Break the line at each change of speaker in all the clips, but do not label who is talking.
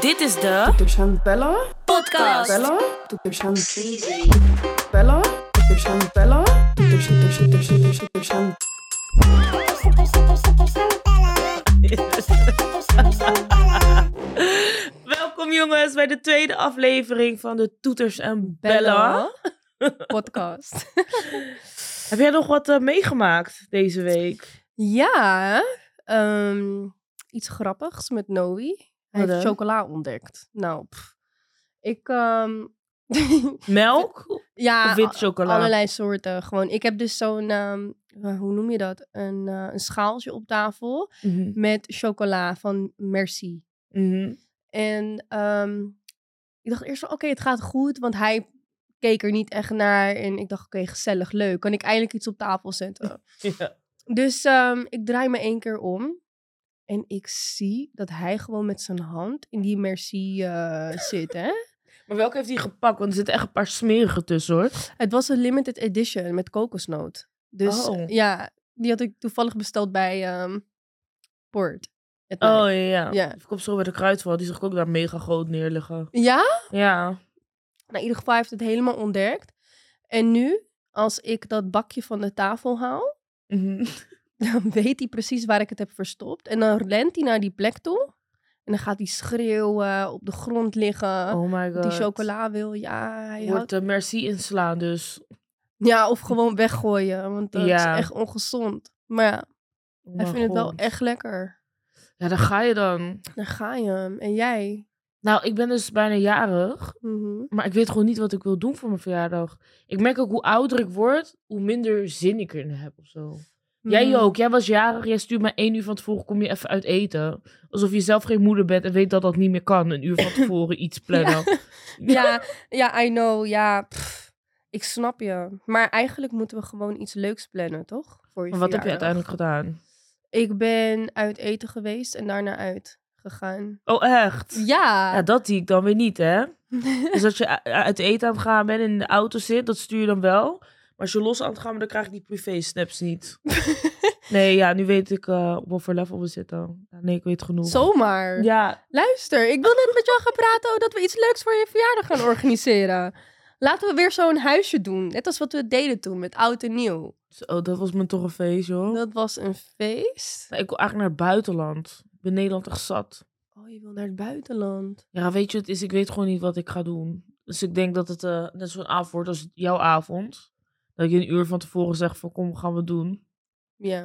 Dit is de
Tu chant Bella?
podcast.
Bella? Tu chant Bella? Tu chant Bella? Tu chant tu chant tu chant tu chant
Welkom jongens bij de tweede aflevering van de Toeters en Bella.
podcast.
Heb jij nog wat eh, meegemaakt deze week?
ja, ehm, iets grappigs met Noe. Hij
Wat
heeft
dan?
chocola ontdekt. Nou, pff. ik. ehm,
Melk
ja,
of wit chocola?
Ah, allerlei soorten. Gewoon, ik heb dus zo'n. ehm, eh, hoe noem je dat? Een, eh, een schaaltje op tafel
Mhm,
met chocola van Merci.
mhm.
En ehm, ik dacht eerst van, oké, het gaat goed, want hij keek er niet echt naar. En ik dacht, oké, gezellig, leuk. Kan ik eindelijk iets op tafel zetten?
Ja.
Dus ehm, ik draai me één keer om. En ik zie dat hij gewoon met zijn hand in die merci eh, zit, hè?
Maar welke heeft hij gepakt? Want er zitten echt een paar smerige tussen hoor.
Het was een limited edition met kokosnoot. Dus
Oh.
ja, die had ik toevallig besteld bij ehm Poort. Het merk.
Oh ja.
Ja.
Ik kom zo bij de kruidval. Die zag ik ook daar mega groot neerliggen.
Ja?
Ja.
Nou, in ieder geval hij heeft het helemaal ontdekt. En nu, als ik dat bakje van de tafel haal,
Mhm.
dan weet hij precies waar ik het heb verstopt. En dan rent hij naar die plek toe. En dan gaat hij schreeuwen, op de grond liggen.
Oh my god.
die chocola wil, ja, hij houdt-
Wordt de merci inslaan dus.
Ja, of gewoon weggooien, want dat
Ja.
is echt ongezond. Maar ja,
Oh
hij
mijn
vindt het wel
god.
echt lekker.
Ja, daar ga je dan.
Daar ga je hem. En jij?
Nou, ik ben dus bijna jarig.
Mhm.
Maar ik weet gewoon niet wat ik wil doen voor mijn verjaardag. Ik merk ook hoe ouder ik word, hoe minder zin ik erin heb of zo. Jij
Mhm.
ook. Jij was jarig. Jij stuurt me één uur van tevoren. Kom je even uit eten. Alsof je zelf geen moeder bent en weet dat dat niet meer kan. Een uur van tevoren iets plannen.
Ja, ja, I know. Ja, pff, ik snap je. Maar eigenlijk moeten we gewoon iets leuks plannen, toch? Voor je
Maar wat heb je
verjaardag.
uiteindelijk gedaan?
Ik ben uit eten geweest en daarna uit gegaan.
Oh, echt?
Ja.
Ja, dat zie ik dan weer niet, hè? Dus als je u- uit eten aan het gaan bent en in de auto zit, dat stuur je dan wel. Maar als je los aan het gaan bent, dan krijg ik die privé-snaps niet. Nee, ja, nu weet ik eh, op wat voor level we zitten. Ja, nee, ik weet genoeg.
Zomaar.
Ja,
Luister, ik wil net met jou gaan praten oh, dat we iets leuks voor je verjaardag gaan organiseren. Laten we weer zo'n huisje doen. Net als wat we deden toen met oud en nieuw.
zo, dat was mijn toch een feest, joh.
Dat was een feest.
Nou, Ik wil eigenlijk naar het buitenland. Ik ben Nederland echt zat.
Oh, je wil naar het buitenland.
Ja, weet je, het is, ik weet gewoon niet wat ik ga doen. Dus ik denk dat het eh, net zo'n avond wordt als jouw avond. Dat je een uur van tevoren zegt van kom, gaan we doen.
Ja.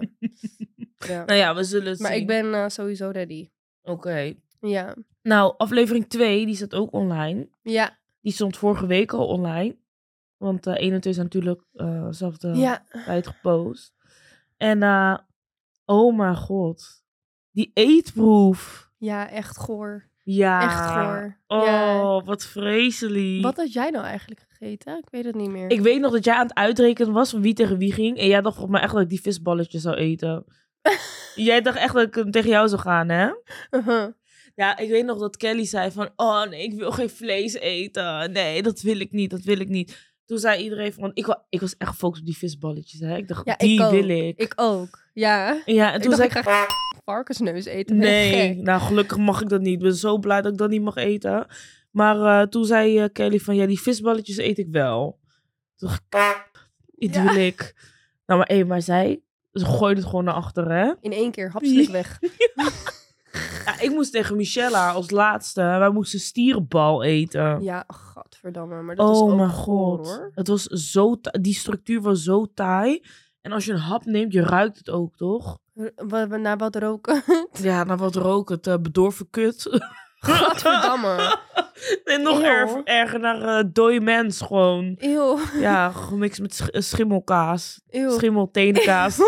ja.
Nou ja, we zullen het
Maar
zien.
ik ben eh, sowieso ready.
Oké.
Ja.
Nou, aflevering 2, die staat ook online.
Ja.
Die stond vorige week al online. Want eh 1 en 2 zijn natuurlijk eh zelfde
Ja.
tijd gepost. En eh, oh mijn god. Die eetproef.
Ja, echt goor.
Ja.
Echt goor.
Oh,
Ja.
wat vreselijk.
Wat had jij nou eigenlijk gegeten? Ik weet het niet meer.
Ik weet nog dat jij aan het uitrekenen was van wie tegen wie ging. En jij dacht volgens mij echt dat ik die visballetjes zou eten. jij dacht echt dat ik hem tegen jou zou gaan, hè?
Uh-huh.
Ja, ik weet nog dat Kelly zei van... Oh nee, ik wil geen vlees eten. Nee, dat wil ik niet, dat wil ik niet. Toen zei iedereen van... Ik, wa- ik was echt gefocust op die visballetjes, hè? Ik dacht,
Ja, ik
die
ook.
wil ik.
Ik ook. Ja.
Ja, en
Ik
toen
dacht,
zei
ik
ik...
ga varkensneus eten. Ben je
Nee,
gek?
nou gelukkig mag ik dat niet. Ik ben zo blij dat ik dat niet mag eten. Maar eh, toen zei eh, Kelly van... Ja, die visballetjes eet ik wel. Toen dacht ik... Die
Ja.
wil ik. Nou, maar, hé, maar zij... Ze gooide het gewoon naar achteren, hè?
In één keer hapselijk weg.
Ja, ik moest tegen Michella als laatste. Wij moesten stierenbal eten.
Ja, gadverdamme. Maar dat is
Oh
ook
mijn
goor,
god.
hoor.
Het was zo ta- die structuur was zo taai. En als je een hap neemt, je ruikt het ook, toch?
R- wa- wa- Naar wat roken.
Ja, nou wat rook het eh, bedorven kut.
Gadverdamme.
en nog
Eeuw.
erg erger naar eh dooi mens gewoon.
Eeuw.
Ja, gemixt met sch- eh, schimmelkaas.
Eeuw. Oh,
Schimmeltenenkaas.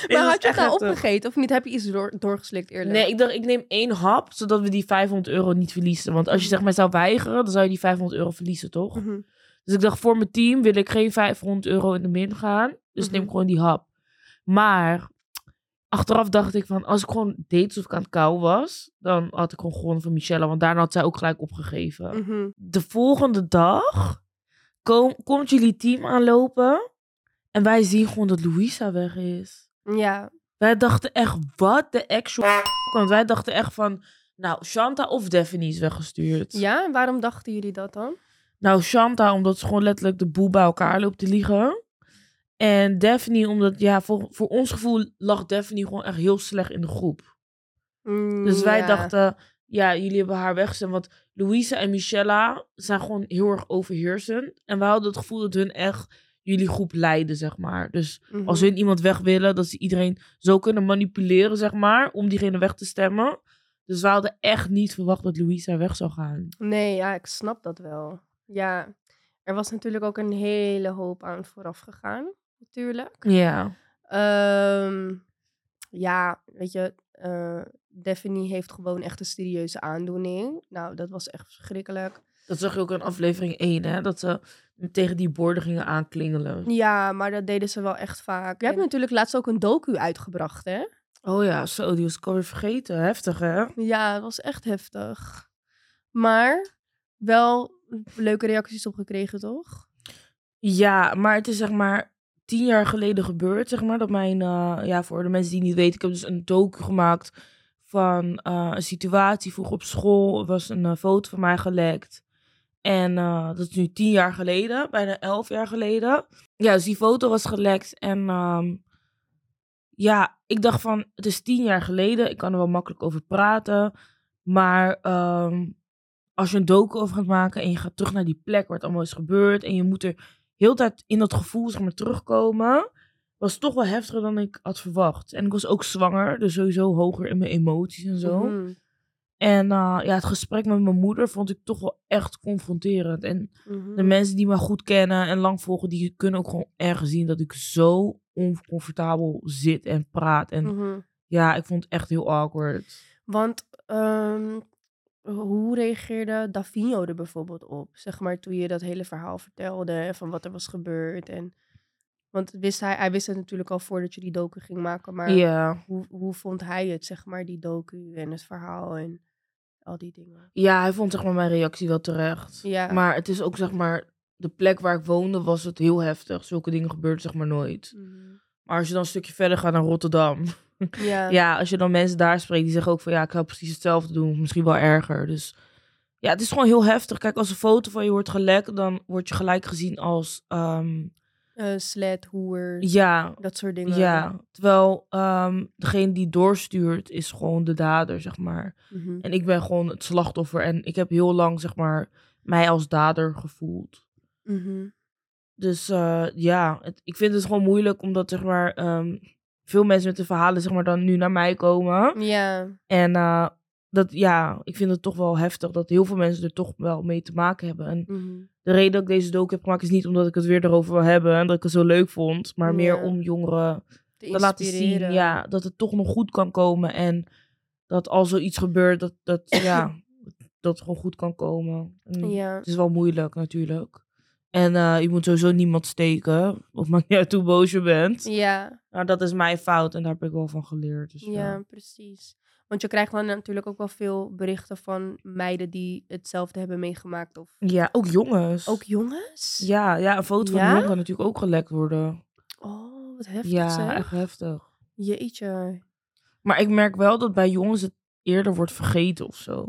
Dit
maar
was
had je het
echt eh,
nou
heftig.
opgegeten of niet? Heb je iets door, doorgeslikt eerlijk?
Nee, ik dacht, ik neem één hap, zodat we die 500 euro niet verliezen. Want als je zeg maar zou weigeren, dan zou je die 500 euro verliezen, toch?
Mhm.
Dus ik dacht, voor mijn team wil ik geen 500 euro in de min gaan. Dus neem
Mhm.
ik gewoon die hap. Maar achteraf dacht ik van, als ik gewoon deed alsof ik aan het kou was, dan had ik gewoon gewonnen van Michelle. Want daarna had zij ook gelijk opgegeven.
Mhm.
De volgende dag kom- komt jullie team aanlopen. En wij zien gewoon dat Louisa weg is.
Ja.
Wij dachten echt, wat de actual... f- Want wij dachten echt van, Nou, Shanta of Daphne is weggestuurd.
Ja, waarom dachten jullie dat dan?
Nou, Shanta, omdat ze gewoon letterlijk de boel bij elkaar loopt te liegen. En Daphne, omdat, ja, voor, voor ons gevoel lag Daphne gewoon echt heel slecht in de groep.
Mm,
Dus wij
ja.
dachten, ja, jullie hebben haar weggezet. Want Louisa en Michella zijn gewoon heel erg overheersend. En we hadden het gevoel dat hun echt jullie groep leiden, zeg maar. Dus
Mhm.
als hun iemand weg willen, dat ze iedereen zo kunnen manipuleren, zeg maar, om diegene weg te stemmen. Dus we hadden echt niet verwacht dat Louisa weg zou gaan.
Nee, ja, ik snap dat wel. Ja, er was natuurlijk ook een hele hoop aan vooraf gegaan, natuurlijk.
Ja.
Ehm, ja, weet je, eh Daphne heeft gewoon echt een serieuze aandoening. Nou, dat was echt verschrikkelijk.
Dat zag je ook in aflevering 1, hè? Dat ze tegen die borden gingen aanklingelen.
Ja, maar dat deden ze wel echt vaak. Je hebt
En-
natuurlijk laatst ook een docu uitgebracht, hè?
Oh ja, zo, die was ik alweer vergeten. Heftig, hè?
Ja, het was echt heftig. Maar wel leuke reacties op gekregen, toch?
Ja, maar het is zeg maar tien jaar geleden gebeurd, zeg maar. Dat mijn, eh, ja, voor de mensen die niet weten, ik heb dus een docu gemaakt van eh, een situatie vroeg op school. Er was een eh, foto van mij gelekt. En eh, dat is nu tien jaar geleden, bijna elf jaar geleden. Ja, dus die foto was gelekt en ehm, ja, ik dacht van, het is tien jaar geleden, ik kan er wel makkelijk over praten. Maar ehm, als je een docu over gaat maken en je gaat terug naar die plek waar het allemaal is gebeurd en je moet er heel de tijd in dat gevoel zeg maar, terugkomen, was het toch wel heftiger dan ik had verwacht. En ik was ook zwanger, dus sowieso hoger in mijn emoties en zo.
Mhm.
En eh, ja, het gesprek met mijn moeder vond ik toch wel echt confronterend. En
Mhm.
de mensen die me goed kennen en lang volgen, die kunnen ook gewoon ergens zien dat ik zo oncomfortabel zit en praat. En
Mhm.
ja, ik vond het echt heel awkward.
Want ehm, hoe reageerde Davino er bijvoorbeeld op? Zeg maar toen je dat hele verhaal vertelde van wat er was gebeurd. En, want wist hij, hij wist het natuurlijk al voordat je die docu ging maken. Maar
Ja.
hoe, hoe vond hij het, zeg maar, die docu en het verhaal en al die dingen?
ja, hij vond zeg maar mijn reactie wel terecht.
Ja,
Maar het is ook zeg maar, de plek waar ik woonde was het heel heftig. Zulke dingen gebeurden zeg maar nooit.
Mhm.
Maar als je dan een stukje verder gaat naar Rotterdam.
ja.
Ja, als je dan mensen daar spreekt, die zeggen ook van ja, ik ga precies hetzelfde doen. of Misschien wel erger. Dus ja, het is gewoon heel heftig. Kijk, als een foto van je wordt gelekt, dan word je gelijk gezien als ehm,
Eh, slet, hoer,
ja,
dat soort dingen.
ja. Terwijl ehm, degene die doorstuurt is gewoon de dader, zeg maar.
Mhm.
En ik ben gewoon het slachtoffer. En ik heb heel lang, zeg maar, mij als dader gevoeld.
Mhm.
Dus eh, ja, het- ik vind het gewoon moeilijk omdat zeg maar, ehm, veel mensen met de verhalen zeg maar, dan nu naar mij komen.
Ja,
En eh, dat, ja, ik vind het toch wel heftig dat heel veel mensen er toch wel mee te maken hebben. En
Mhm.
de reden dat ik deze docu heb gemaakt is niet omdat ik het weer erover wil hebben en dat ik het zo leuk vond. Maar meer
Ja.
om jongeren
te
te laten zien
inspireren.
ja, dat het toch nog goed kan komen. En dat als zoiets gebeurt, dat, dat, ja, dat het gewoon goed kan komen. En-
ja.
het is wel moeilijk natuurlijk. En eh, je moet sowieso niemand steken. Of maakt niet uit hoe boos je bent.
Ja,
Nou, dat is mijn fout en daar heb ik wel van geleerd. Dus, ja.
Ja, precies. Want je krijgt dan natuurlijk ook wel veel berichten van meiden die hetzelfde hebben meegemaakt. Of
ja, ook jongens.
ook jongens?
ja, ja, een foto van
Ja?
een jongen kan natuurlijk ook gelekt worden.
Oh, wat heftig
ja,
zeg.
echt heftig.
Jeetje.
Maar ik merk wel dat bij jongens het eerder wordt vergeten of zo.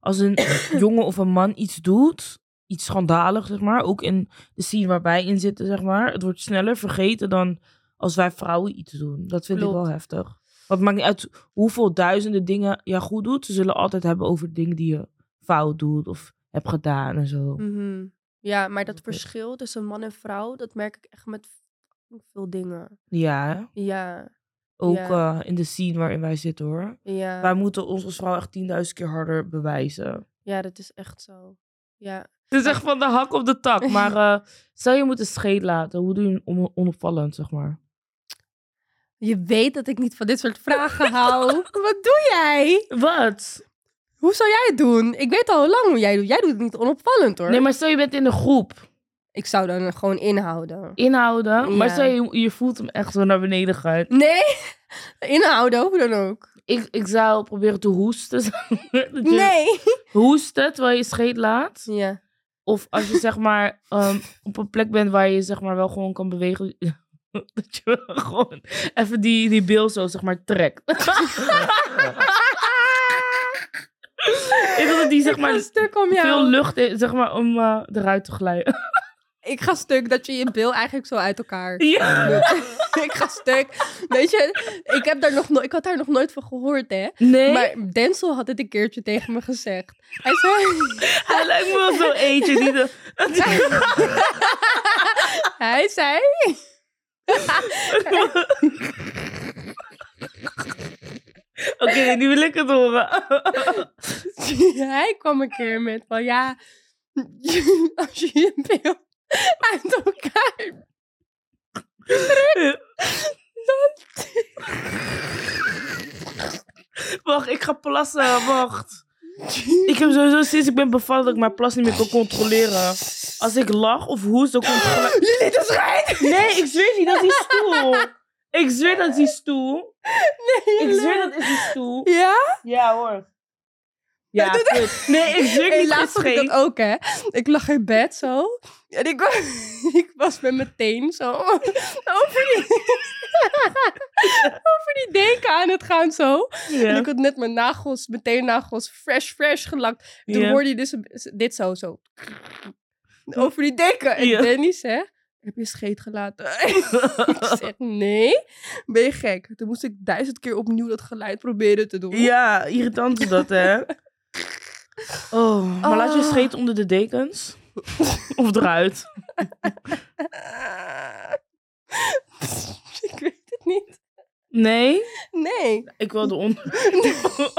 Als een jongen of een man iets doet, iets schandalig zeg maar, ook in de scene waar wij in zitten zeg maar, het wordt sneller vergeten dan als wij vrouwen iets doen. Dat vind ik
Klopt.
wel heftig. Want het maakt niet uit hoeveel duizenden dingen je goed doet, ze zullen altijd hebben over dingen die je fout doet of hebt gedaan en zo.
Mhm. Ja, maar dat
Dat is-
verschil tussen man en vrouw, dat merk ik echt met fucking veel dingen.
Ja, hè?
Ja,
ook
Ja.
eh, in de scene waarin wij zitten hoor.
ja.
Wij moeten ons als vrouw echt 10.000 keer harder bewijzen.
Ja, dat is echt zo. Ja.
Het is echt van de hak op de tak. Maar eh stel je moet een scheet laten, hoe doe je een on- onopvallend, zeg maar?
Je weet dat ik niet van dit soort vragen hou. Wat doe jij?
Wat?
Hoe zou jij het doen? Ik weet al hoe lang hoe jij doet. Jij doet het niet onopvallend hoor.
Nee, maar stel je bent in de groep,
Ik zou dan gewoon inhouden.
inhouden. Maar
Ja.
stel je, je voelt hem echt zo naar beneden gaan.
Nee, inhouden, hoe dan ook.
Ik, ik zou proberen te hoesten. zeg maar, dat je
Nee.
Hoesten terwijl je scheet laat.
Ja.
Of als je zeg maar ehm, op een plek bent waar je zeg maar wel gewoon kan bewegen. Dat je wel gewoon even die, die bil zo zeg maar trekt. Ik wil dat die zeg
ik ga
maar
stuk om jou.
veel lucht in, zeg maar, om eh, eruit te glijden.
Ik ga stuk dat je je bil eigenlijk zo uit elkaar
Ja.
doet. ik ga stuk. Weet je, ik, heb daar nog no- ik had daar nog nooit van gehoord, hè.
Nee,
Maar Denzel had het een keertje tegen me gezegd. Hij zei...
hij lijkt me wel zo eentje. Die de...
Hij zei...
Oké, nu wil ik het horen.
Hij kwam een keer met van ja, als je je pil uit elkaar
wacht, ik ga plassen, wacht. Ik heb sowieso sinds ik ben bevallen dat ik mijn plas niet meer kan controleren. Als ik lach of hoest, dan komt het gelijk...
Jullie te schijnen!
Nee, ik zweer niet, dat is die stoel. Ik zweer dat is die stoel. Ik zweer dat is die stoel.
Ja?
Ja hoor. Ja, kut. Nee, ik zweer
Hey,
niet,
laatst
dat
had ik
is
dat ook, hè. Ik lag in bed zo. En ik, wa- ik was met mijn teen zo over die, over die deken aan het gaan zo. En
Ja.
ik had net mijn nagels, mijn teennagels fresh, fresh gelakt. Toen
Ja.
hoorde je dus een- dit zo, zo. Over die deken. En
Ja.
Danny zegt, heb je scheet gelaten? ik zeg, nee. Ben je gek? Toen moest ik duizend keer opnieuw dat geluid proberen te doen.
Ja, irritant is dat, hè? Oh, maar laat je scheet onder de dekens? Of eruit?
ik weet het niet.
Nee?
Nee.
Ik wil eronder. ja.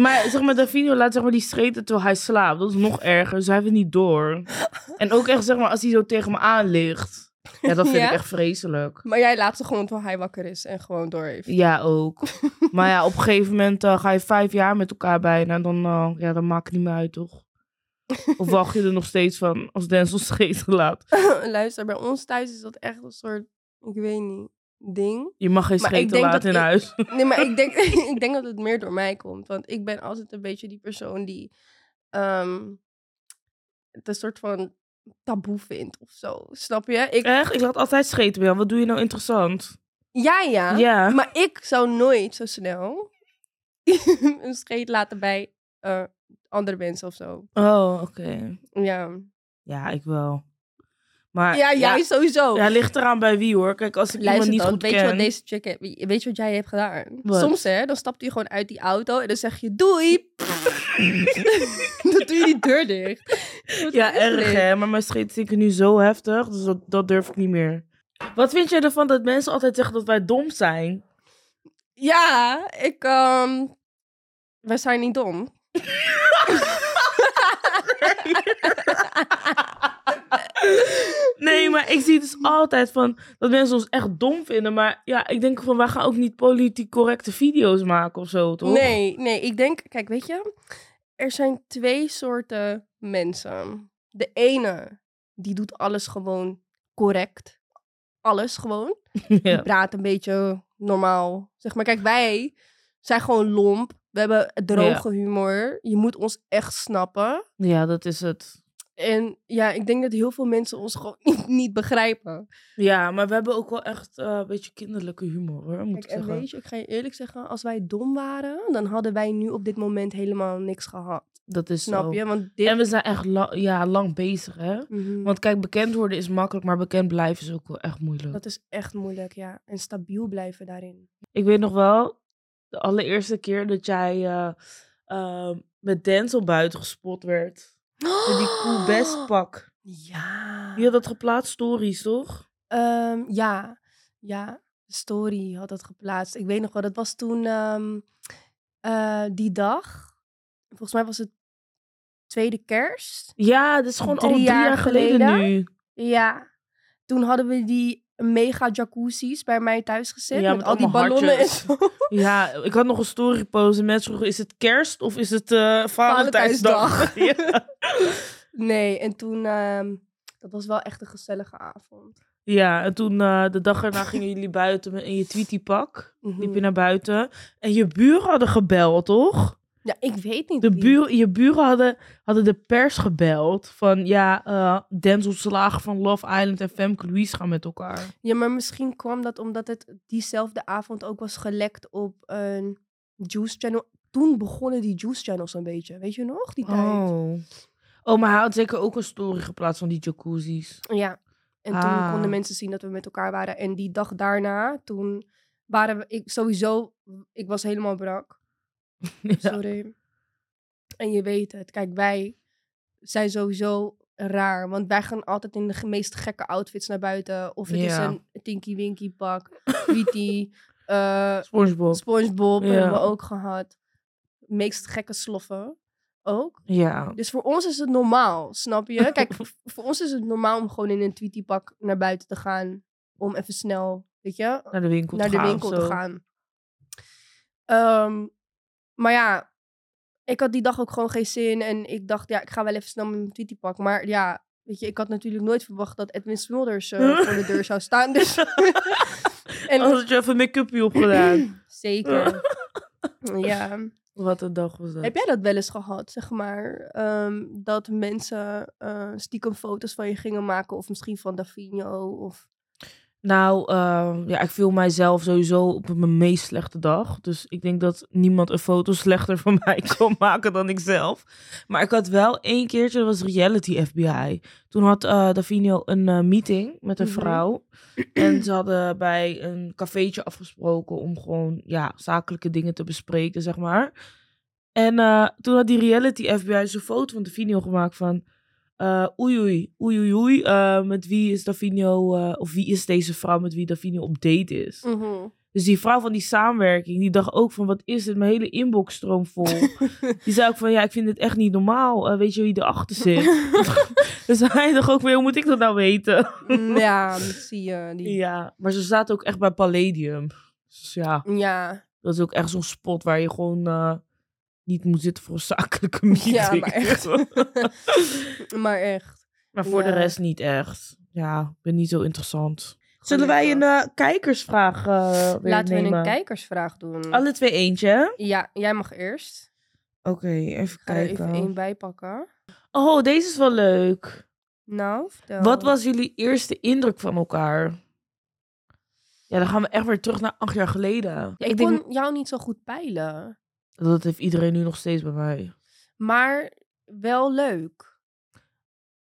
Maar zeg maar, Davino laat zeg maar, die streten terwijl hij slaapt. Dat is nog erger, dus hij heeft het niet door. En ook echt zeg maar, als hij zo tegen me aan ligt. Ja, dat vind
Ja?
ik echt vreselijk.
Maar jij laat ze gewoon terwijl hij wakker is en gewoon door heeft.
Ja, ook. Maar ja, op een gegeven moment eh, ga je vijf jaar met elkaar bijna. Dan, eh, ja, dan maakt het niet meer uit, toch? Of wacht je er nog steeds van als Denzel scheet laat?
Luister, bij ons thuis is dat echt een soort, ik weet niet, ding.
Je mag geen
Maar ik
scheet
denk
laten
dat
in
ik-
huis.
Nee, maar ik denk, ik denk dat het meer door mij komt. Want ik ben altijd een beetje die persoon die ehm, het een soort van taboe vindt of zo. Snap je? Ik,
Echt? Ik laat altijd scheten bij jou. Wat doe je nou interessant?
ja, ja,
Ja.
Maar ik zou nooit zo snel een scheet laten bij eh, andere mensen of zo.
Oh, oké.
Ja,
Ja, ik wel. Maar
ja jij
ja,
sowieso.
ja, ligt eraan bij wie hoor. Kijk, als ik
Luister
iemand niet
dan,
goed
weet
ken.
je wat deze chick heeft- weet je wat jij hebt gedaan?
Wat?
Soms hè, dan stapt hij gewoon uit die auto en dan zeg je doei. dan doe je die deur dicht. Wat
Ja,
is
erg
dit?
hè. Maar mijn scheet stinken nu zo heftig, dus dat, dat durf ik niet meer. Wat vind jij ervan dat mensen altijd zeggen dat wij dom zijn?
Ja, ik. ehm we zijn niet dom.
Nee, maar ik zie dus altijd van dat mensen ons echt dom vinden. Maar ja, ik denk van wij gaan ook niet politiek correcte video's maken of zo, toch?
Nee, nee, ik denk. Kijk, weet je, er zijn twee soorten mensen. De ene, die doet alles gewoon correct. Alles gewoon. Die
Ja.
praat een beetje normaal. Zeg maar, kijk, wij zijn gewoon lomp. We hebben droge humor. Je moet ons echt snappen.
ja, dat is het.
En ja, ik denk dat heel veel mensen ons gewoon niet, niet begrijpen.
Ja, maar we hebben ook wel echt eh, een beetje kinderlijke humor, hoor, moet
Kijk,
ik
en
zeggen.
weet je, ik ga je eerlijk zeggen, als wij dom waren, dan hadden wij nu op dit moment helemaal niks gehad.
Dat is
Snap
zo.
je? Want dit...
En we zijn echt la- ja, lang bezig, hè?
Mhm.
Want kijk, bekend worden is makkelijk, maar bekend blijven is ook wel echt moeilijk.
Dat is echt moeilijk, ja. En stabiel blijven daarin.
Ik weet nog wel, de allereerste keer dat jij eh, eh, met Denzel buiten gespot werd. Met die cool best pak.
Ja.
Je had dat geplaatst, stories, toch?
Ehm, ja. Ja. Story had dat geplaatst. Ik weet nog wel, dat was toen ehm, eh, die dag. Volgens mij was het tweede kerst.
Ja, dat is gewoon al
Drie
drie
jaar
jaar geleden,
geleden?
nu.
Ja. Toen hadden we die mega jacuzzis bij mij thuis gezet.
Ja,
met,
met
al die
allemaal
ballonnen en
hartjes.
zo.
Ja, ik had nog een story gepost en mensen vroegen, is het kerst of is het eh Valentijnsdag? ja.
Nee, en toen... ehm, dat was wel echt een gezellige avond.
ja, en toen eh, de dag erna gingen jullie buiten met- in je tweetypak.
Mhm.
Liep je naar buiten. En je buren hadden gebeld, toch?
Ja, ik weet niet
De
wie.
buur, je buren hadden, hadden de pers gebeld van ja, eh Denzel Slager van Love Island en Femke Louise gaan met elkaar.
Ja, maar misschien kwam dat omdat het diezelfde avond ook was gelekt op een Juice Channel toen begonnen die juice channels een beetje. Weet je nog? Die tijd.
Oh. oh, maar hij had zeker ook een story geplaatst van die jacuzzi's.
Ja. En toen
Ah.
konden mensen zien dat we met elkaar waren. En die dag daarna, toen waren we... Ik, sowieso, ik was helemaal brak.
ja.
Sorry. En je weet het. Kijk, wij zijn sowieso raar. Want wij gaan altijd in de ge- meest gekke outfits naar buiten. Of het is
Ja.
een Tinky Winky pak. Witty. eh,
SpongeBob.
Spongebob
Ja.
hebben we ook gehad. Meest gekke sloffen ook.
Ja.
Dus voor ons is het normaal, snap je? Kijk, v- voor ons is het normaal om gewoon in een Tweety-pak naar buiten te gaan. Om even snel, weet je,
Naar de winkel
naar
te
de
gaan.
winkel
of
te
zo.
gaan. Ehm, maar ja, ik had die dag ook gewoon geen zin. En ik dacht, ja, ik ga wel even snel met mijn tweetie pak. Maar ja, weet je, ik had natuurlijk nooit verwacht dat Edwin Smulders eh, voor de deur zou staan. Dus... en
Anders had je even make-upje opgedaan.
zeker. ja.
Wat een dag was dat.
Heb jij dat wel eens gehad, zeg maar? ehm, dat mensen eh, stiekem foto's van je gingen maken, of misschien van Davino, of...
Nou, ehm, ja, ik viel mijzelf sowieso op mijn meest slechte dag. Dus ik denk dat niemand een foto slechter van mij kon maken dan ikzelf. Maar ik had wel één keertje, dat was Reality FBI. Toen had eh Davino een eh, meeting met een
Mhm.
vrouw. En ze hadden bij een cafeetje afgesproken om gewoon ja, zakelijke dingen te bespreken, zeg maar. En eh, toen had die Reality FBI zo'n foto van Davino gemaakt van... Eh, oei, oei, oei, oei, oei. eh, met wie is Davino, eh, of wie is deze vrouw met wie Davino op date is?
Mm.
Dus die vrouw van die samenwerking, die dacht ook van, wat is dit? Mijn hele inbox stroomt vol. die zei ook van, ja, ik vind dit echt niet normaal. Eh, weet je wie erachter zit? dus hij dacht ook van, hoe moet ik dat nou weten?
Mm, ja, dat zie je. Die... Ja.
ja, maar ze zaten ook echt bij Palladium. Dus ja,
Ja,
dat is ook echt zo'n spot waar je gewoon eh, niet moet zitten voor een zakelijke meeting.
maar echt. maar echt.
Maar voor
Ja.
de rest niet echt. Ja, ik ben niet zo interessant.
Gelukkig.
Zullen wij een eh, kijkersvraag eh weer
Laten we
nemen?
een kijkersvraag doen.
Alle twee eentje. hè?
Ja, jij mag eerst.
Oké, even
Ik ga er
kijken.
even één bij pakken.
Oh, deze is wel leuk.
Nou, vertel.
Wat was jullie eerste indruk van elkaar? Ja, dan gaan we echt weer terug naar acht jaar geleden.
Ik,
ik
kon
denk
jou niet zo goed peilen,
dat heeft iedereen nu nog steeds bij mij.
maar wel leuk.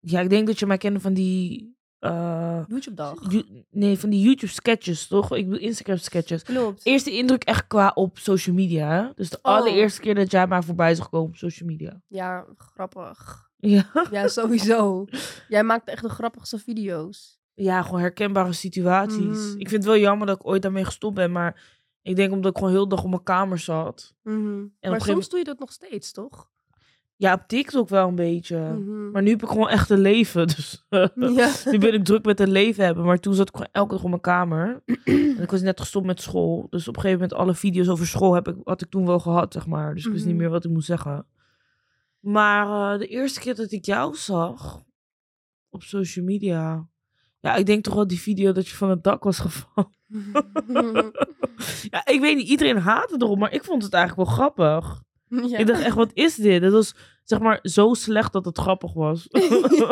Ja, ik denk dat je mij kende van die. eh,
YouTube-dag.
ju- nee, van die YouTube sketches, toch? Ik bedoel Instagram sketches.
Klopt.
Eerste indruk echt qua op social media. hè? Dus de
Oh.
allereerste keer dat jij mij voorbij is gekomen op social media.
Ja, grappig.
Ja.
Ja, sowieso. Jij maakt echt de grappigste video's.
Ja, gewoon herkenbare situaties.
Mhm.
Ik vind het wel jammer dat ik ooit daarmee gestopt ben, maar ik denk omdat ik gewoon heel de dag op mijn kamer zat.
Mhm. Maar
gegeven
soms
moment-
doe je dat nog steeds, toch?
Ja, op TikTok wel een beetje.
Mhm.
Maar nu heb ik gewoon echt een leven. Dus
Ja.
nu ben ik druk met een leven hebben. Maar toen zat ik gewoon elke dag op mijn kamer. en ik was net gestopt met school. Dus op een gegeven moment alle video's over school heb ik, had ik toen wel gehad, zeg maar. Dus ik wist
Mhm.
niet meer wat ik moest zeggen. Maar eh, de eerste keer dat ik jou zag op social media. Ja, ik denk toch wel die video dat je van het dak was gevallen. Ja, ik weet niet, iedereen haatte erop, maar ik vond het eigenlijk wel grappig.
ja.
Ik dacht echt, wat is dit? Het was zeg maar zo slecht dat het grappig was.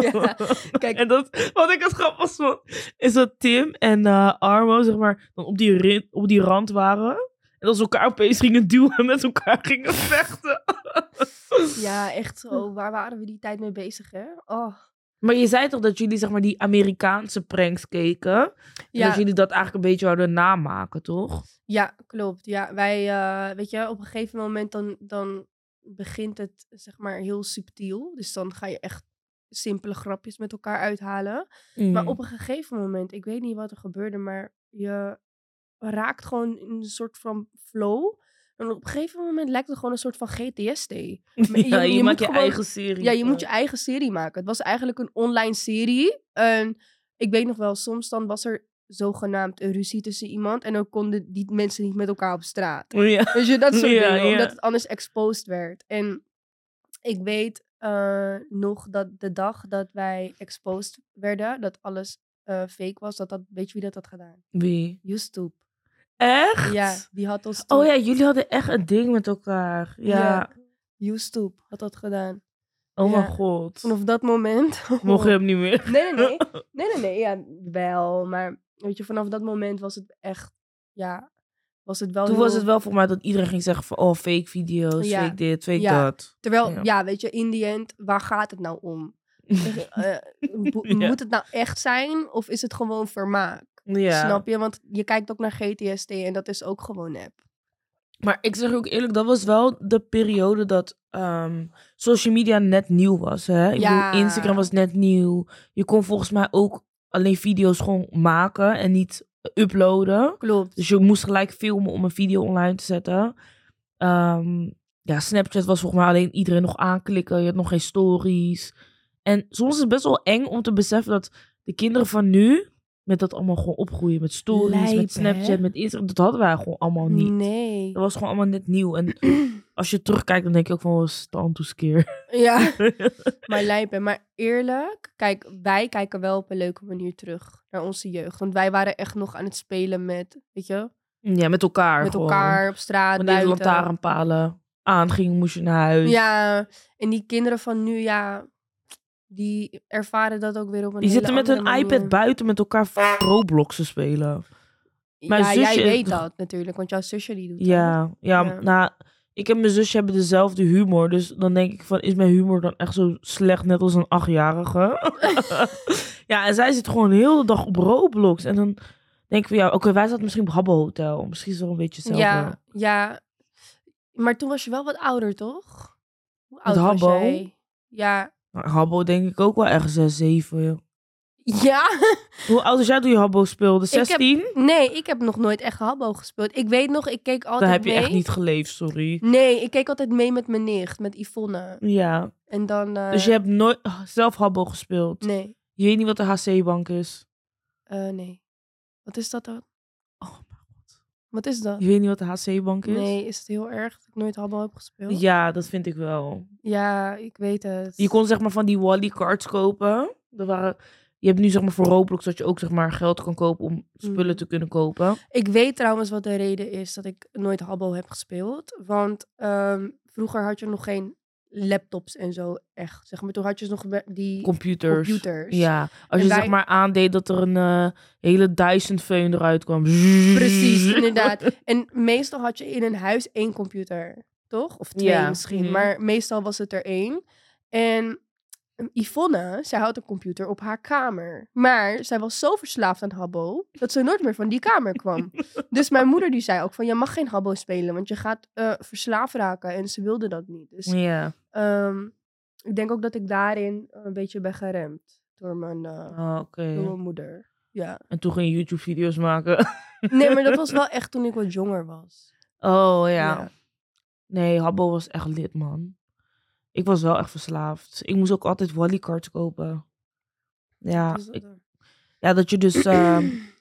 Ja, kijk.
En dat, wat ik het grappig vond, is dat Tim en eh, Armo zeg maar dan op die, ri- op die rand waren. En dat ze elkaar opeens gingen duwen en met elkaar gingen vechten.
ja, echt. Oh, waar waren we die tijd mee bezig, hè? Oh.
Maar je zei toch dat jullie zeg maar die Amerikaanse pranks keken? En
Ja,
dat jullie dat eigenlijk een beetje zouden namaken, toch?
ja, klopt. Ja, wij, eh, weet je, op een gegeven moment dan, dan begint het, zeg maar, heel subtiel. Dus dan ga je echt simpele grapjes met elkaar uithalen. Maar
Mm.
op een gegeven moment, ik weet niet wat er gebeurde, maar je raakt gewoon in een soort van flow. En op een gegeven moment lijkt het gewoon een soort van GTSD. je-
ja, je,
je moet
maakt je
gewoon-
eigen serie.
Ja, je moet je eigen serie maken. Het was eigenlijk een online serie. En ik weet nog wel, soms dan was er zogenaamd een ruzie tussen iemand. En dan konden die mensen niet met elkaar op straat.
Ja.
Weet je, dat soort
Ja,
dingen.
ja.
Omdat het anders exposed werd. En ik weet eh, nog dat de dag dat wij exposed werden, dat alles eh, fake was, dat dat, weet je wie dat had gedaan?
Wie?
YouTube.
Echt?
Ja, die had ons toen...
Oh ja, jullie hadden echt een ding met elkaar. Ja.
YouTube had dat gedaan.
Oh
Ja.
mijn god.
Vanaf dat moment...
Mocht je hem niet meer?
Nee, nee, nee. Nee, nee, nee. Ja, wel. Maar weet je, vanaf dat moment was het echt... Ja, was het wel
Toen
heel-
was het wel voor mij dat iedereen ging zeggen van... Oh, fake video's,
Oh, Ja.
fake dit, fake
Ja.
dat.
Terwijl,
Ja.
ja. weet je, in die end, waar gaat het nou om? Eh, bo-
Ja.
Moet het nou echt zijn of is het gewoon vermaak?
ja.
Snap je? Want je kijkt ook naar GTST en dat is ook gewoon nep.
Maar ik zeg ook eerlijk, dat was wel de periode dat ehm, social media net nieuw was. Hè? Ik
Ja.
bedoel, Instagram was net nieuw. Je kon volgens mij ook alleen video's gewoon maken en niet uploaden.
Klopt.
Dus je moest gelijk filmen om een video online te zetten. Ehm, ja, Snapchat was volgens mij alleen iedereen nog aanklikken. Je had nog geen stories. En soms is het best wel eng om te beseffen dat de kinderen van nu met dat allemaal gewoon opgroeien. Met stories,
Lijp,
met Snapchat,
hè? Mm.
met Instagram. Dat hadden wij gewoon allemaal niet.
Nee.
Dat was gewoon allemaal net nieuw. En als je terugkijkt, dan denk je ook van, oh, was het aan keer.
Ja, maar lijpen. Maar eerlijk, kijk, wij kijken wel op een leuke manier terug naar onze jeugd. Want wij waren echt nog aan het spelen met, weet je,
ja, met elkaar
met
gewoon.
elkaar op straat,
Wanneer de
buiten.
lantaarnpalen aangingen, moest je naar huis.
Ja, en die kinderen van nu, ja, die ervaren dat ook weer op een
Die
hele
zitten met hun
andere manier.
iPad buiten met elkaar f- Roblox te spelen. Mijn
ja, jij
zusje-
weet dat natuurlijk, want jouw zusje die doet dat.
Ja, ja,
Ja.
nou, ik en mijn zusje hebben dezelfde humor. Dus dan denk ik van, is mijn humor dan echt zo slecht, net als een achtjarige? ja, en zij zit gewoon heel de dag op Roblox. En dan denk ik van, ja, oké, wij zaten misschien op Habbo Hotel. Misschien is het wel een beetje hetzelfde.
Ja, ja. Maar toen was je wel wat ouder, toch? Hoe
Met
oud was
Habbo?
jij? Ja.
Maar Habbo denk ik ook wel ergens 6, 7. joh.
Ja?
Hoe oud was jij toen je Habbo speelde?
heb
16?
Nee, ik heb nog nooit echt Habbo gespeeld. Ik weet nog, ik keek altijd
Dan heb je
mee.
echt niet geleefd, sorry.
Nee, ik keek altijd mee met mijn nicht, met Yvonne.
Ja,
En dan... Mm. eh,
dus je hebt nooit oh, zelf Habbo gespeeld.
Nee,
Je weet niet wat de HC-bank is.
eh, nee. Wat is dat dan?
Oh mijn god.
Wat is dat?
Je weet niet wat de HC-bank is?
Nee, is het heel erg dat ik nooit Habbo heb gespeeld?
Ja, dat vind ik wel.
Ja, ik weet het.
Je kon zeg maar van die Wally cards kopen. Er waren... Je hebt nu zeg maar voor Roblox dat je ook zeg maar geld kan kopen om spullen
Mm.
te kunnen kopen.
Ik weet trouwens wat de reden is dat ik nooit Habbo heb gespeeld. Want ehm, vroeger had je nog geen laptops en zo echt. Zeg maar, toen had je nog be- die
Computers.
computers.
Ja, als
En
je
wij-
zeg maar aandeed dat er een eh, hele Dyson feun eruit kwam. Mm.
Precies, inderdaad. En meestal had je in een huis één computer, toch? Of twee
Ja,
misschien.
mhm.
Maar meestal was het er één. En ehm, Yvonne, zij had een computer op haar kamer. Maar zij was zo verslaafd aan Habbo dat ze nooit meer van die kamer kwam. dus mijn moeder die zei ook van, je mag geen Habbo spelen, want je gaat eh, verslaafd raken. En ze wilde dat niet. Dus
Ja.
ehm, ik denk ook dat ik daarin een beetje ben geremd door mijn, eh,
Ah, Oké.
door mijn moeder. Ja.
En toen ging je YouTube-video's maken.
Nee, maar dat was wel echt toen ik wat jonger was.
Oh ja.
Ja.
Nee, Habbo was echt lid, man. Ik was wel echt verslaafd. Ik moest ook altijd Wallycards kopen. Ja,
Dus dat
ik-
dan.
ja, dat je dus eh,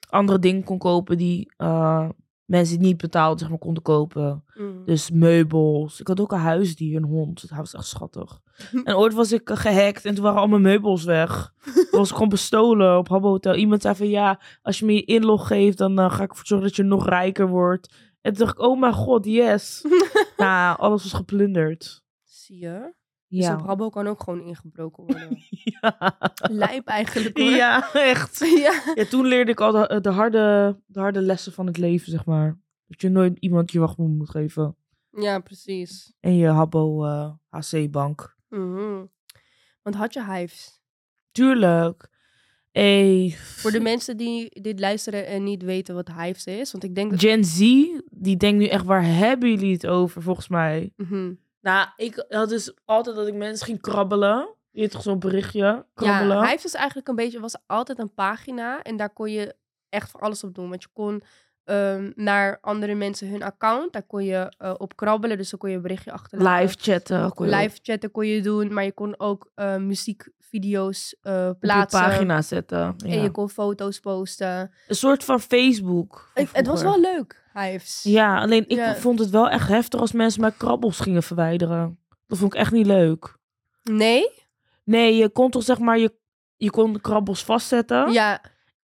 andere dingen kon kopen die eh, mensen die niet betaald zeg maar, konden kopen.
Mm.
Dus meubels. Ik had ook een huisdier, een hond. Dat was echt schattig. En ooit was ik eh, gehackt en toen waren al mijn meubels weg. Toen was ik gewoon bestolen op Habbo Hotel. Iemand zei van ja, als je me je inlog geeft, dan eh, ga ik ervoor zorgen dat je nog rijker wordt. En toen dacht ik, oh mijn god, yes. nou, alles was geplunderd.
Zie je? Dus op
Ja.
Habbo kan ook gewoon ingebroken worden.
Ja.
Lijp eigenlijk hoor.
ja, echt.
ja.
Ja, toen leerde ik al de, de, harde, de harde lessen van het leven, zeg maar. Dat je nooit iemand je wachtwoord moet geven.
Ja, precies.
En je Habbo eh, HC-bank.
Mhm. Want had je hives?
Tuurlijk. Hey,
Voor de mensen die dit luisteren en niet weten wat hives is. Want ik denk dat...
Gen Z, die denkt nu echt, waar hebben jullie het over, volgens mij?
Mhm.
Nou, ik had dus altijd dat ik mensen ging krabbelen. Je hebt toch zo'n berichtje? Krabbelen.
Ja, hives is eigenlijk een beetje... was altijd een pagina. En daar kon je echt van alles op doen. Want je kon ehm, naar andere mensen hun account. Daar kon je eh, op krabbelen. Dus dan kon je een berichtje achterlaten.
Live chatten. kon je op-
Live chatten kon je doen. Maar je kon ook eh, muziekvideo's eh,
op je
plaatsen.
pagina zetten. Ja.
En je kon foto's posten.
Een soort van Facebook. van
Ik- het was
vroeger.
wel leuk, Hives.
Ja, alleen ik
Ja.
vond het wel echt heftig als mensen mijn krabbels gingen verwijderen. Dat vond ik echt niet leuk.
Nee?
Nee, je kon toch zeg maar, je, je kon de krabbels vastzetten.
Ja,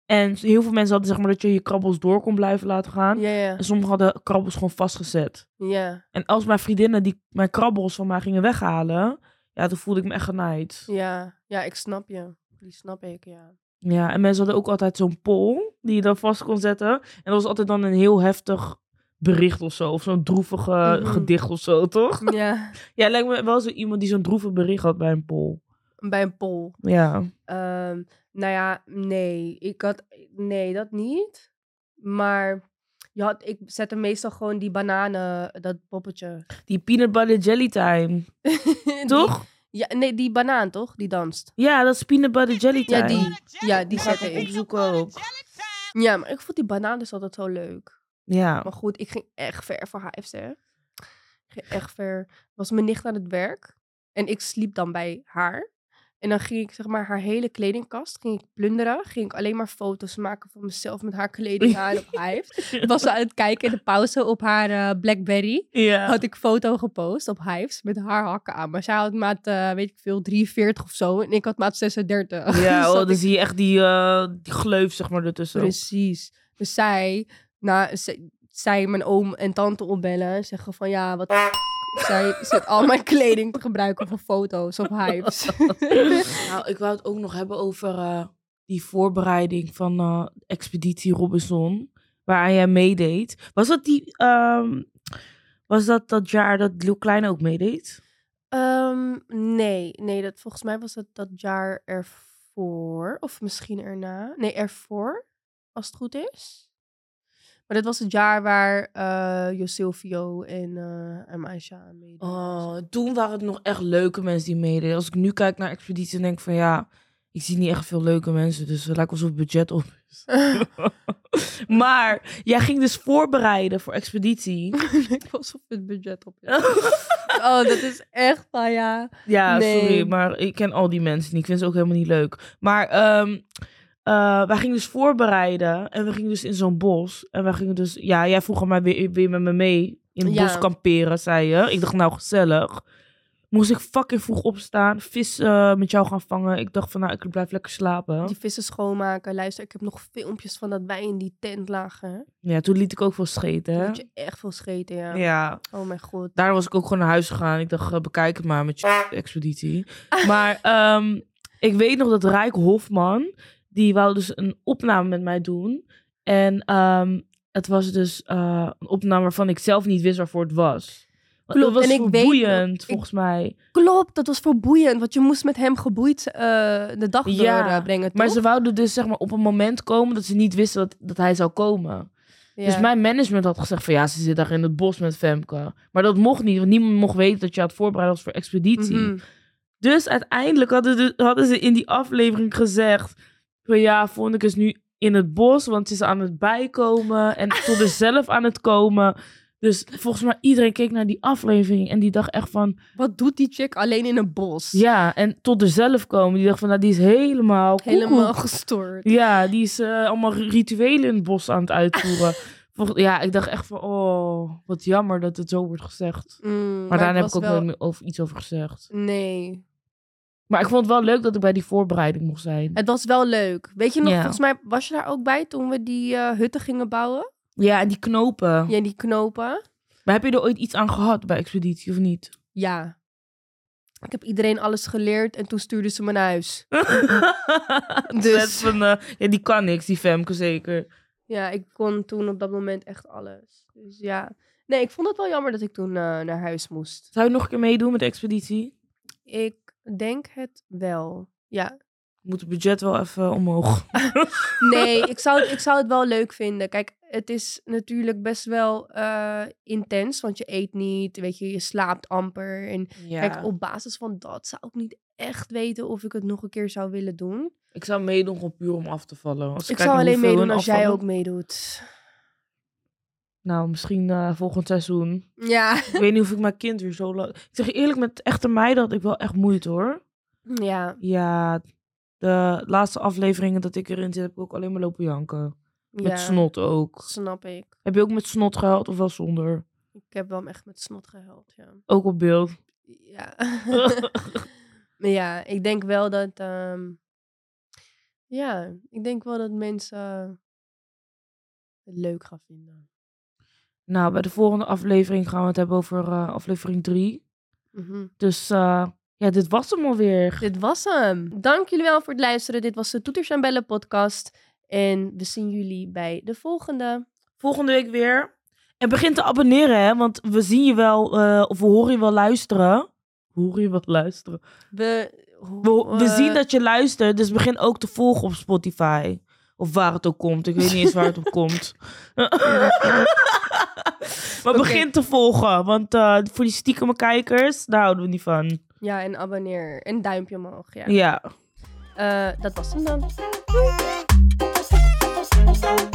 En heel veel mensen hadden zeg maar dat je je krabbels door kon blijven laten gaan.
ja, ja.
En sommigen hadden krabbels gewoon vastgezet.
Ja,
En als mijn vriendinnen die mijn krabbels van mij gingen weghalen, ja, toen voelde ik me echt genaaid.
ja. Ja, ik snap je. Die snap ik, ja.
Ja, en mensen hadden ook altijd zo'n pol die je dan vast kon zetten. En dat was altijd dan een heel heftig bericht of zo. Of zo'n droevige
Mhm.
gedicht of zo, toch?
Ja,
Ja, lijkt me wel zo iemand die zo'n droevig bericht had bij een poll.
bij een pol.
Ja.
Ehm, nou ja, nee. Ik had, nee, dat niet. Maar je had, ik zette meestal gewoon die bananen, dat poppetje.
Die peanut butter jelly time.
Die-
Toch?
ja, nee, die banaan toch? Die danst.
Ja, dat is peanut butter jelly time.
Ja, die. Ja, die
Die ga ik
zette
hem
ik.
opzoeken ook.
Ja, maar ik vond die banaan dus altijd zo leuk.
Oh. Ja.
Maar goed, ik ging echt ver voor hives, hè. Ik ging echt ver. Was mijn nicht aan het werk. En ik sliep dan bij haar. En dan ging ik, zeg maar, haar hele kledingkast ging ik plunderen. Ging ik alleen maar foto's maken van mezelf met haar kleding aan op hives. Was ze aan het kijken in de pauze op haar eh, Blackberry.
Ja.
Had ik foto gepost op hives met haar hakken aan. Maar zij had maat, eh, weet ik veel, 43 of zo. En ik had maat Dus 36.
Ja,
Zat
oh,
ik
dan zie je echt die, eh, die gleuf, zeg maar, ertussen.
Precies. Dus zij, nou, zij, zij mijn oom en tante opbellen en zeggen van ja, wat zij zit al mijn kleding te gebruiken voor foto's of hypes.
Nou, ik wou het ook nog hebben over eh, die voorbereiding van eh, Expeditie Robinson. Waaraan jij meedeed. Was dat die. ehm, was dat dat jaar dat Lil Kleine ook meedeed?
Ehm, nee, nee, dat, volgens mij was dat dat jaar ervoor of misschien erna. Nee, ervoor, als het goed is. Maar dat was het jaar waar eh Josilvio en, eh en Aisha aan meededen.
Oh, toen waren het nog echt leuke mensen die meededen. Als ik nu kijk naar Expeditie, dan denk ik van ja. Ik zie niet echt veel leuke mensen, dus het lijkt alsof het budget op is. maar jij ging dus voorbereiden voor Expeditie.
ik was op het budget op. Oh, dat is echt van ja.
Ja,
Nee.
sorry, maar ik ken al die mensen niet. Ik vind ze ook helemaal niet leuk. Maar ehm, eh, wij gingen dus voorbereiden en we gingen dus in zo'n bos. En wij gingen dus, ja, jij vroeg aan mij weer, weer met me mee in het
Ja.
bos kamperen, zei je. Ik dacht, nou, gezellig. Moest ik fucking vroeg opstaan, vis eh, met jou gaan vangen. Ik dacht van, nou, ik blijf lekker slapen.
Die vissen schoonmaken. Luister, ik heb nog filmpjes van dat wij in die tent lagen.
Ja, toen liet ik ook veel scheten,
Hè?
hè?
Dat je echt veel scheten, ja.
Ja,
Oh mijn god.
daar was ik ook gewoon naar huis gegaan. Ik dacht, eh, bekijk het maar met je expeditie. Maar ehm, ik weet nog dat Rijk Hofman, die wou dus een opname met mij doen. En ehm, het was dus eh, een opname waarvan ik zelf niet wist waarvoor het was. Want
Klopt,
het was
en ik
voor
weet
boeiend,
nog-
volgens mij.
Klopt, dat was voor boeiend. Want je moest met hem geboeid eh, de dag door
Ja,
eh, brengen, toch?
Maar ze wouden dus zeg maar, op een moment komen dat ze niet wisten dat, dat hij zou komen.
Ja.
Dus mijn management had gezegd van ja, ze zit daar in het bos met Femke. Maar dat mocht niet, want niemand mocht weten dat je aan het voorbereiden was voor expeditie.
Mhm.
Dus uiteindelijk hadden, de- hadden ze in die aflevering gezegd: van ja, Vonneke is nu in het bos, want ze is aan het bijkomen en tot er zelf aan het komen. Dus volgens mij iedereen keek naar die aflevering en die dacht echt van
Wat doet die chick alleen in een bos?
ja, en tot er zelf komen. Die dacht van nou, die is helemaal koekoek.
Helemaal gestoord.
Ja, die is eh, allemaal ri- rituelen in het bos aan het uitvoeren. Volg- ja, ik dacht echt van oh, wat jammer dat het zo wordt gezegd.
Mm,
Maar, daar
het
heb ik ook
was wel-
nooit meer over, iets over gezegd.
Nee.
Maar ik vond het wel leuk dat ik bij die voorbereiding mocht zijn.
Het was wel leuk. Weet je nog,
Ja.
volgens mij was je daar ook bij toen we die eh, hutten gingen bouwen?
Ja, en die knopen.
Ja, die knopen.
Maar heb je er ooit iets aan gehad bij Expeditie of niet?
Ja. Ik heb iedereen alles geleerd en toen stuurden ze me naar huis. Dus-
Net van, eh, ja, die kan niks, die Femke zeker.
Ja, ik kon toen op dat moment echt alles. Dus ja. Nee, ik vond het wel jammer dat ik toen eh, naar huis moest.
Zou je nog een keer meedoen met de Expeditie?
Ik denk het wel. Ja.
Moet het budget wel even omhoog.
Nee, ik zou het, ik zou het wel leuk vinden. Kijk, het is natuurlijk best wel eh, intens, want je eet niet, weet je, je slaapt amper. En
Ja.
kijk, op basis van dat zou ik niet echt weten of ik het nog een keer zou willen doen.
Ik zou meedoen gewoon puur om af te vallen. Als
ik
kijk
zou
naar
alleen
hoeveel
meedoen
hun
als jij
afvallen-
ook meedoet.
Nou, misschien eh, volgend seizoen.
Ja.
ik weet niet of ik mijn kind weer zo lang... Ik zeg je eerlijk, met echte meiden had ik wel echt moeite hoor.
Ja.
Ja, de laatste afleveringen dat ik erin zit heb ik ook alleen maar lopen janken. Met
ja.
snot ook.
Snap ik.
Heb je ook met snot gehuild of wel zonder?
Ik heb wel echt met snot gehuild, ja.
Ook op beeld.
Ja. maar ja, ik denk wel dat. ehm, ja, ik denk wel dat mensen het leuk gaan vinden.
Nou, bij de volgende aflevering gaan we het hebben over eh, aflevering 3.
Mhm.
Dus eh, ja, dit was hem alweer.
Dit was hem. Dank jullie wel voor het luisteren. Dit was de Toeters en Bellen podcast. En we zien jullie bij de volgende.
Volgende week weer. En begin te abonneren, hè? Want we zien je wel, eh, of we horen je wel luisteren. We horen je wel luisteren.
We,
We, we
eh,
zien dat je luistert, dus begin ook te volgen op Spotify. Of waar het ook komt. Ik weet niet eens waar het op komt. maar
Oké.
begin te volgen, want eh, voor die stiekeme kijkers, daar houden we niet van.
Ja, en abonneer. En duimpje omhoog, ja.
Ja.
Eh, dat was hem dan.
Thank you.